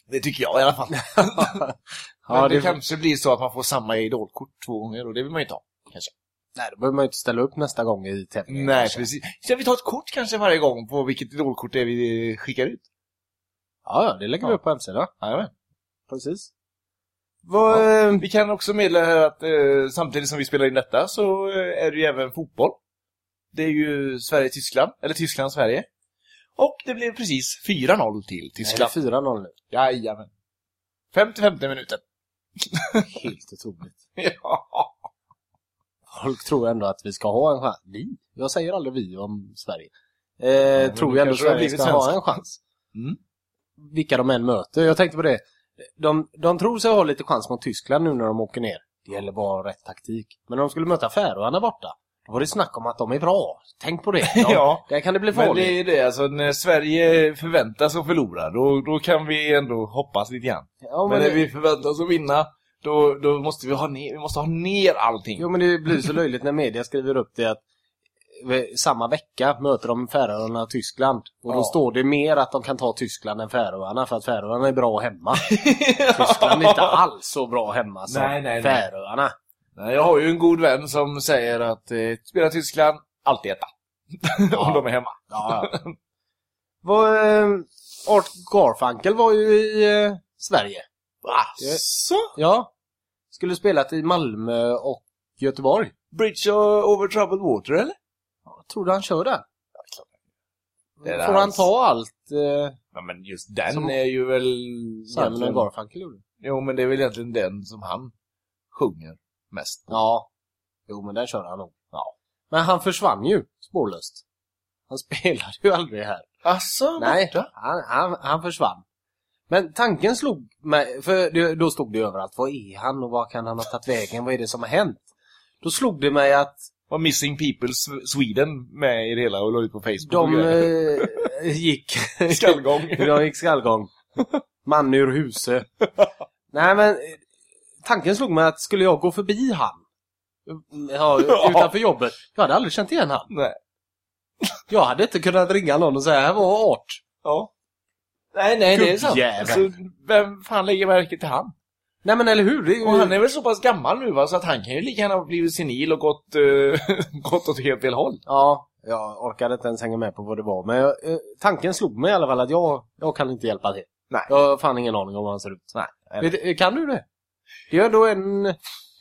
Det tycker jag i alla fall. Men Ja, det, det, kanske blir så att man får samma idolkort två gånger och det vill man ju ta. nej, då behöver man ju inte ställa upp nästa gång i tävlingen. Nej, kanske. precis. Ska vi ta ett kort kanske varje gång på vilket idolkort det är vi skickar ut? Ja, ja, det lägger vi Ja. upp på hemsidan. Jajamän. Precis. Vad, eh, Vi kan också meddela här att eh, samtidigt som vi spelar in detta så eh, är det ju även fotboll. Det är ju Sverige-Tyskland, eller Tyskland-Sverige. Och det blev precis 4-0 till Tyskland. Nej, det är 4-0 nu. Jajamän. 50-50 minuten. Helt otroligt. ja. Folk tror ändå att vi ska ha en chans. Vi? Jag säger aldrig vi om Sverige. Eh, men tror då jag ändå kanske det har Sverige ska blivit ha svensk. en chans. Mm. Vilka de än möter. Jag tänkte på det. De, de tror sig ha lite chans mot Tyskland nu när de åker ner. Det gäller bara att ha rätt taktik. Men när de skulle möta Färöarna borta, då var det snack om att de är bra. Tänk på det. De, Ja. Där kan det bli Men farligt. det är det, alltså när Sverige förväntas att förlora, då, då kan vi ändå hoppas lite grann. ja, Men det- när vi förväntas att vinna, då, då måste vi ha ner, vi måste ha ner allting. Jo men det blir så löjligt när media skriver upp det att eh, samma vecka möter de Färöarna och Tyskland. Och då Ja. står det mer att de kan ta Tyskland än Färöarna för att Färöarna är bra hemma. Tyskland är inte alls så bra hemma som Nej, nej, nej. Färöarna. Nej, Jag har ju en god vän som säger att eh, spela Tyskland, alltid etta. Om de är hemma. Ja, ja. Vad, eh, Art Garfunkel var ju i eh, Sverige. Eh, Asså? Ja. Skulle spelat i Malmö och Göteborg. Bridge o- over troubled water eller? Tror du han kör där? Det är Får han hans- ta allt eh, Ja, men just den Som- är ju väl... Simon egentligen- och Garfunkel gjorde? Jo men det är väl egentligen den som han sjunger mest. Ja. Jo, men där kör han nog. Ja. Men han försvann ju spårlöst. Han spelade ju aldrig här. Asså, Nej, borta? han, han, han försvann. Men tanken slog mig, för det, då stod det överallt. Vad är han och vad kan han ha tagit vägen? Vad är det som har hänt? Då slog det mig att Var Missing People S- Sweden med i det hela och la ut på Facebook? och de grejer. eh, gick... Skallgång. de gick skallgång. Man ur huse. Nej, men eh, tanken slog mig att skulle jag gå förbi han eh, ja, Ja. utanför jobbet, jag hade aldrig känt igen han. Nej. Jag hade inte kunnat ringa någon och säga här var art. Ja. Nej, nej, det är sant. Gubbjävel. Alltså, vem fan lägger märke till han? Nej men eller hur? Det är ju... Och han är väl så pass gammal nu va, så att han kan ju lika gärna ha blivit senil och gått, uh, gått åt helt fel håll. Ja, jag orkade inte ens hänga med på vad det var. Men jag, eh, tanken slog mig i alla fall att jag, jag kan inte hjälpa till. Nej. Jag har fan ingen aning om hur han ser ut. Nej. Vet, eh, kan du det? Det är ändå en,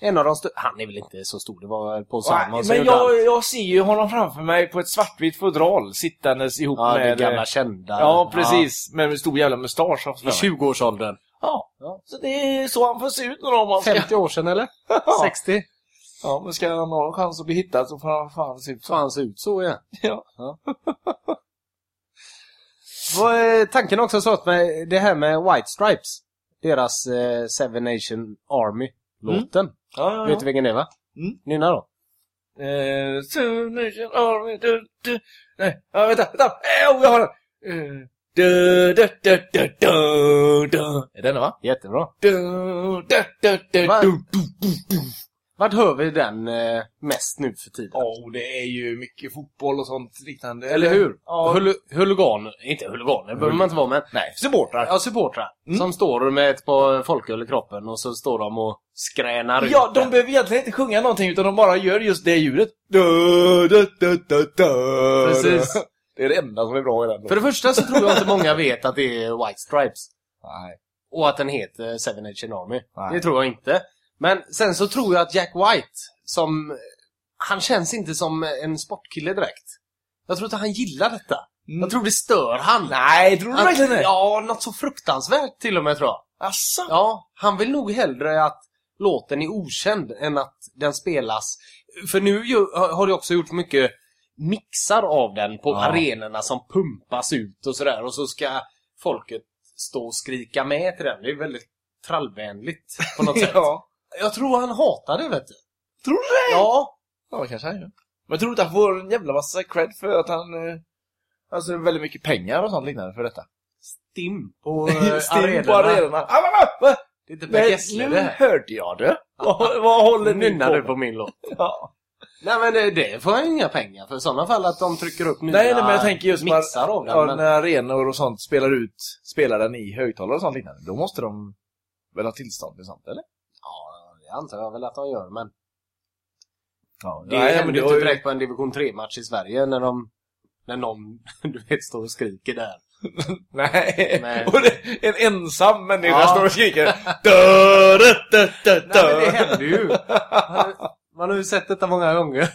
en av de stö- Han är väl inte så stor, det var på samma men jag, jag ser ju honom framför mig på ett svartvitt fodral sittandes ihop Ja, det med... eh, gamla kända. ja, precis. Med en stor jävla mustasch. också. Ja, eh, I 20-årsåldern. Ja. Ja. Så det är så han får se ut när de har... 50 år sedan eller? Ja. 60? Ja, men ska han ha en chans att bli hittad så får han fan se ut Så han ser ut så ja. Ja. Vad, eh, tanken har också slått mig, det här med White Stripes. Deras eh, Seven Nation Army-låten. Ja, Vet du vilken det är va? Mm. Nynna då. Eh, soon nation army, du, du. Nej, ja, vänta, vänta! Eh, oh, jag har den! Eh, du, du, du, du, du, du. Är den det, va? Jättebra. Du, du, du, du, Va? du. Vart hör vi den eh, mest nu för tiden? Åh, det är ju mycket fotboll och sånt liknande. Eller hur? Ja. Hul- huliganer, inte huliganer behöver man inte vara men. Nej, supportrar. Ja, supportrar. Mm. Som står med ett par folköl i kroppen och så står de och skränar ut Ja, de den. behöver egentligen inte sjunga någonting utan de bara gör just det ljudet. Du, du, du, du, du. Precis. Det är det enda som är bra i den För det första så tror jag inte många vet att det är White Stripes. Nej. Och att den heter Seven Nation Army. Nej. Det tror jag inte. Men sen så tror jag att Jack White, som... Han känns inte som en sportkille direkt. Jag tror inte han gillar detta. Mm. Jag tror det stör han. Nej, tror du Att- verkligen det? Ja, något så fruktansvärt till och med tror jag. Asså? Ja, han vill nog hellre att låten är okänd än att den spelas. För nu ju, har det också gjort mycket mixar av den på Ja. arenorna som pumpas ut och sådär. Och så ska folket stå och skrika med till den. Det är väldigt trallvänligt på något sätt. Ja. Jag tror han hatar det, vet du. Tror du det? Ja. Ja, det kanske han gör. Men jag tror inte han får en jävla massa cred för att han... eh, Alltså väldigt mycket pengar och sånt liknande för detta. Stim på eh, Sting på arenorna. Ah, va, va, va? Det är inte Per Nej, Gessle det nu här. hörde jag det. Vad, vad håller ni Nynnar på du med? på min låt? Ja. Nej men det, det får han ju inga pengar för i sådana fall att de trycker upp nya Nej, nej, men jag tänker just man- mixar av den. Ja, men, när arenor och sånt spelar ut spelaren i högtalare och sånt liknande, då måste de väl ha tillstånd och sånt, eller? ja, det antar jag väl att de gör men Ja, det nej, händer men ju var inte direkt på en division 3-match i Sverige när de när någon, du vet, står och skriker där. Nej. Nej. Och det, en ensam människa Ja. står och skriker dö, dö, dö, dö, dö. Nej men det händer ju! Man har, man har ju sett detta många gånger.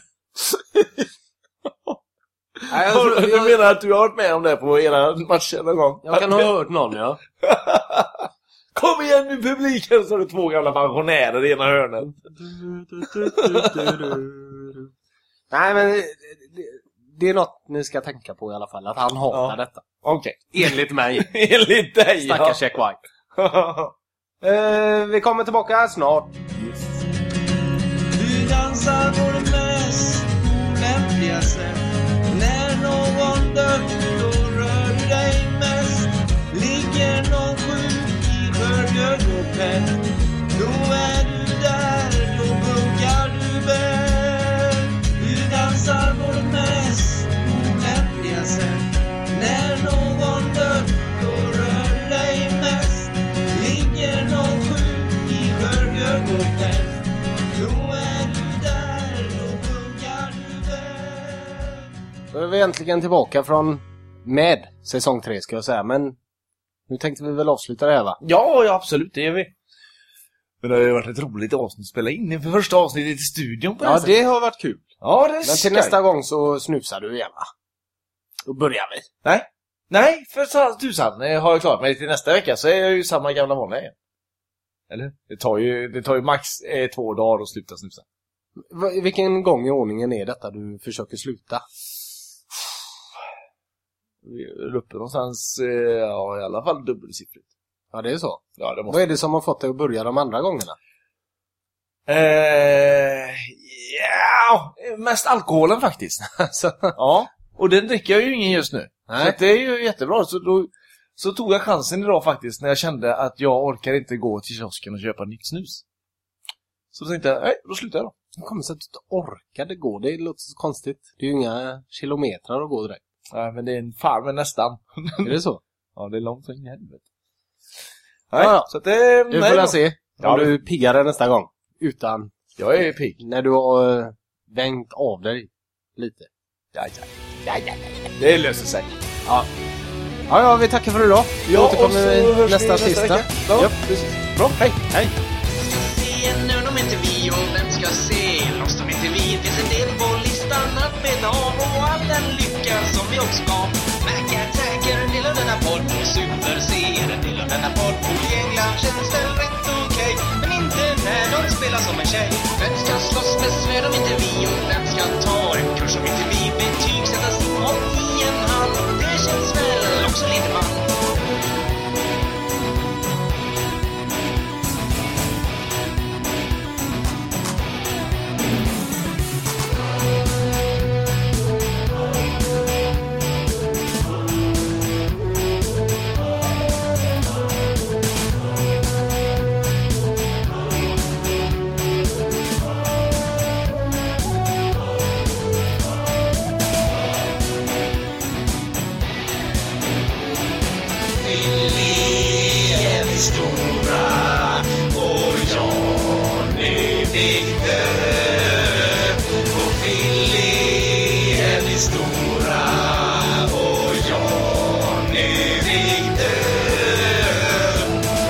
Nej, jag, tror- Du- jag, Du menar att du har varit med om det på era matcher någon gång? jag kan ha hört någon ja. Kom igen nu publiken! Så har du två gamla pensionärer i ena hörnet. Nej men det, det är något ni ska tänka på i alla fall. Att han hatar Ja. detta. Okej. Enligt mig. Enligt dig Stackars Jack White. Eh, vi kommer tillbaka snart. Du dansar på det mest lämpligaste När någon dör, då rör du dig mest Ligger någon sjuk i burgergruppen Då är du där, då bunkar du bäst Du dansar på det mest lämpligaste När någon dör, då rör du dig mest Ligger någon sjuk i burgergruppen då är du där, då funkar du väl Då är vi äntligen tillbaka från med säsong 3 ska jag säga. Men nu tänkte vi väl avsluta det här va? Ja, ja, absolut, det gör vi. Men det har ju varit ett roligt avsnitt att spela in inför första avsnittet i studion på det här Ja sättet. det har varit kul. Ja, det är Men till skoj. nästa gång så snusar du igen va? Då börjar vi. Nej. Nej, för sa- tusan eh, har jag klarat mig till nästa vecka så är jag ju samma gamla vanliga igen. Eller hur? Det tar ju, det tar ju max eh, två dagar att sluta snusa. Va- Vilken gång i ordningen är detta du försöker sluta? Vi är uppe någonstans, eh, ja i alla fall dubbelsiffrigt. Ja det är så. Ja, det måste... Vad är det som har fått dig att börja de andra gångerna? Eh, ja, mest alkoholen faktiskt. Alltså, ja, och den dricker jag ju ingen just nu. Så nej. att det är ju jättebra. Så, då, så tog jag chansen idag faktiskt när jag kände att jag orkar inte gå till kiosken och köpa nytt snus. Så då tänkte jag, nej, då slutar jag då. Det kommer sig att du inte orkade gå. Det låter så konstigt. Det är ju inga kilometrar att gå direkt. Nej, men det är en fan men nästan. Är det så? Ja, det är långt in i helvete. Nej, Nej, ja, så att eh, det... Du får väl se om Ja, du är piggare nästa gång. Utan Jag är ju pigg. när du har eh, vängt av dig lite. Ja, ja. Ja, ja, ja. Det löser sig. Ja, ja, vi tackar för idag. Vi Ja, och så återkommer hörs vi nästa nästa tisdag. vecka. Ja. Japp, precis. Bra, hej. hej. se nu de inte vi och vem ska se oss de inte vi? Finns en del på listan att bena av och all den lycka som vi också gav. Mac Attack är en del av denna podd, Super C är en del av denna podd. Oljängla känns väl rätt okej, men inte när de spelar som en tjej. Vem ska slåss med svärd om inte vi och vem ska ta en kurs om inte vi? Betygsättas om i en hand, det känns väl också lite man.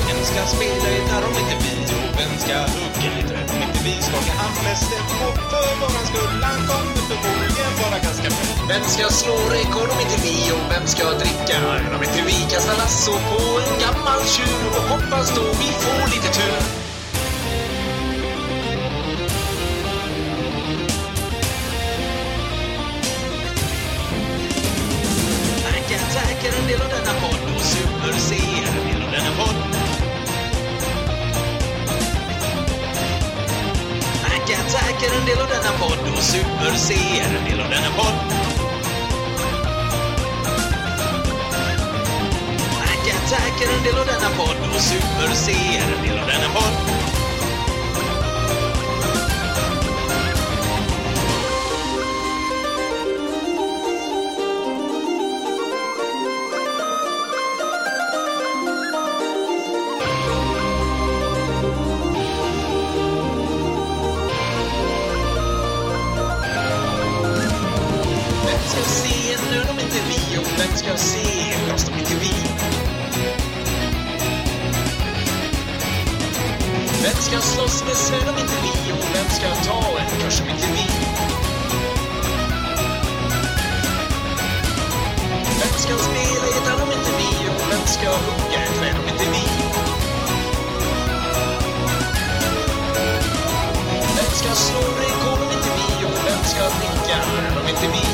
Vem ska spela gitarr om inte vi? Jo, vem ska hugga lite rätt om inte vi? Skaka hand med Steffo för våran skull. Han kommer förmodligen vara ganska fett. Vem ska slå rekord om inte vi och vem ska dricka öl om inte vi kastar lasso på en gammal tjur och hoppas då vi får lite tur. Mac Attack är en del av denna podd och Super C är en del av denna podd. Mac Attack är en del av denna podd och Super C är en del av denna podd. Hack Attack är en del av denna podd och Super C är en del av denna podd. Vem ska se nu om inte vi? Och vem ska se oss om inte vi? Vem ska slåss med Sven om inte vi? Och vem ska ta en kurs om inte vi? Vem ska spela gitarr om inte vi? Och vem ska hugga ett träd om inte vi? Vem ska slå rekord om inte vi? Och vem ska dricka öl om inte vi?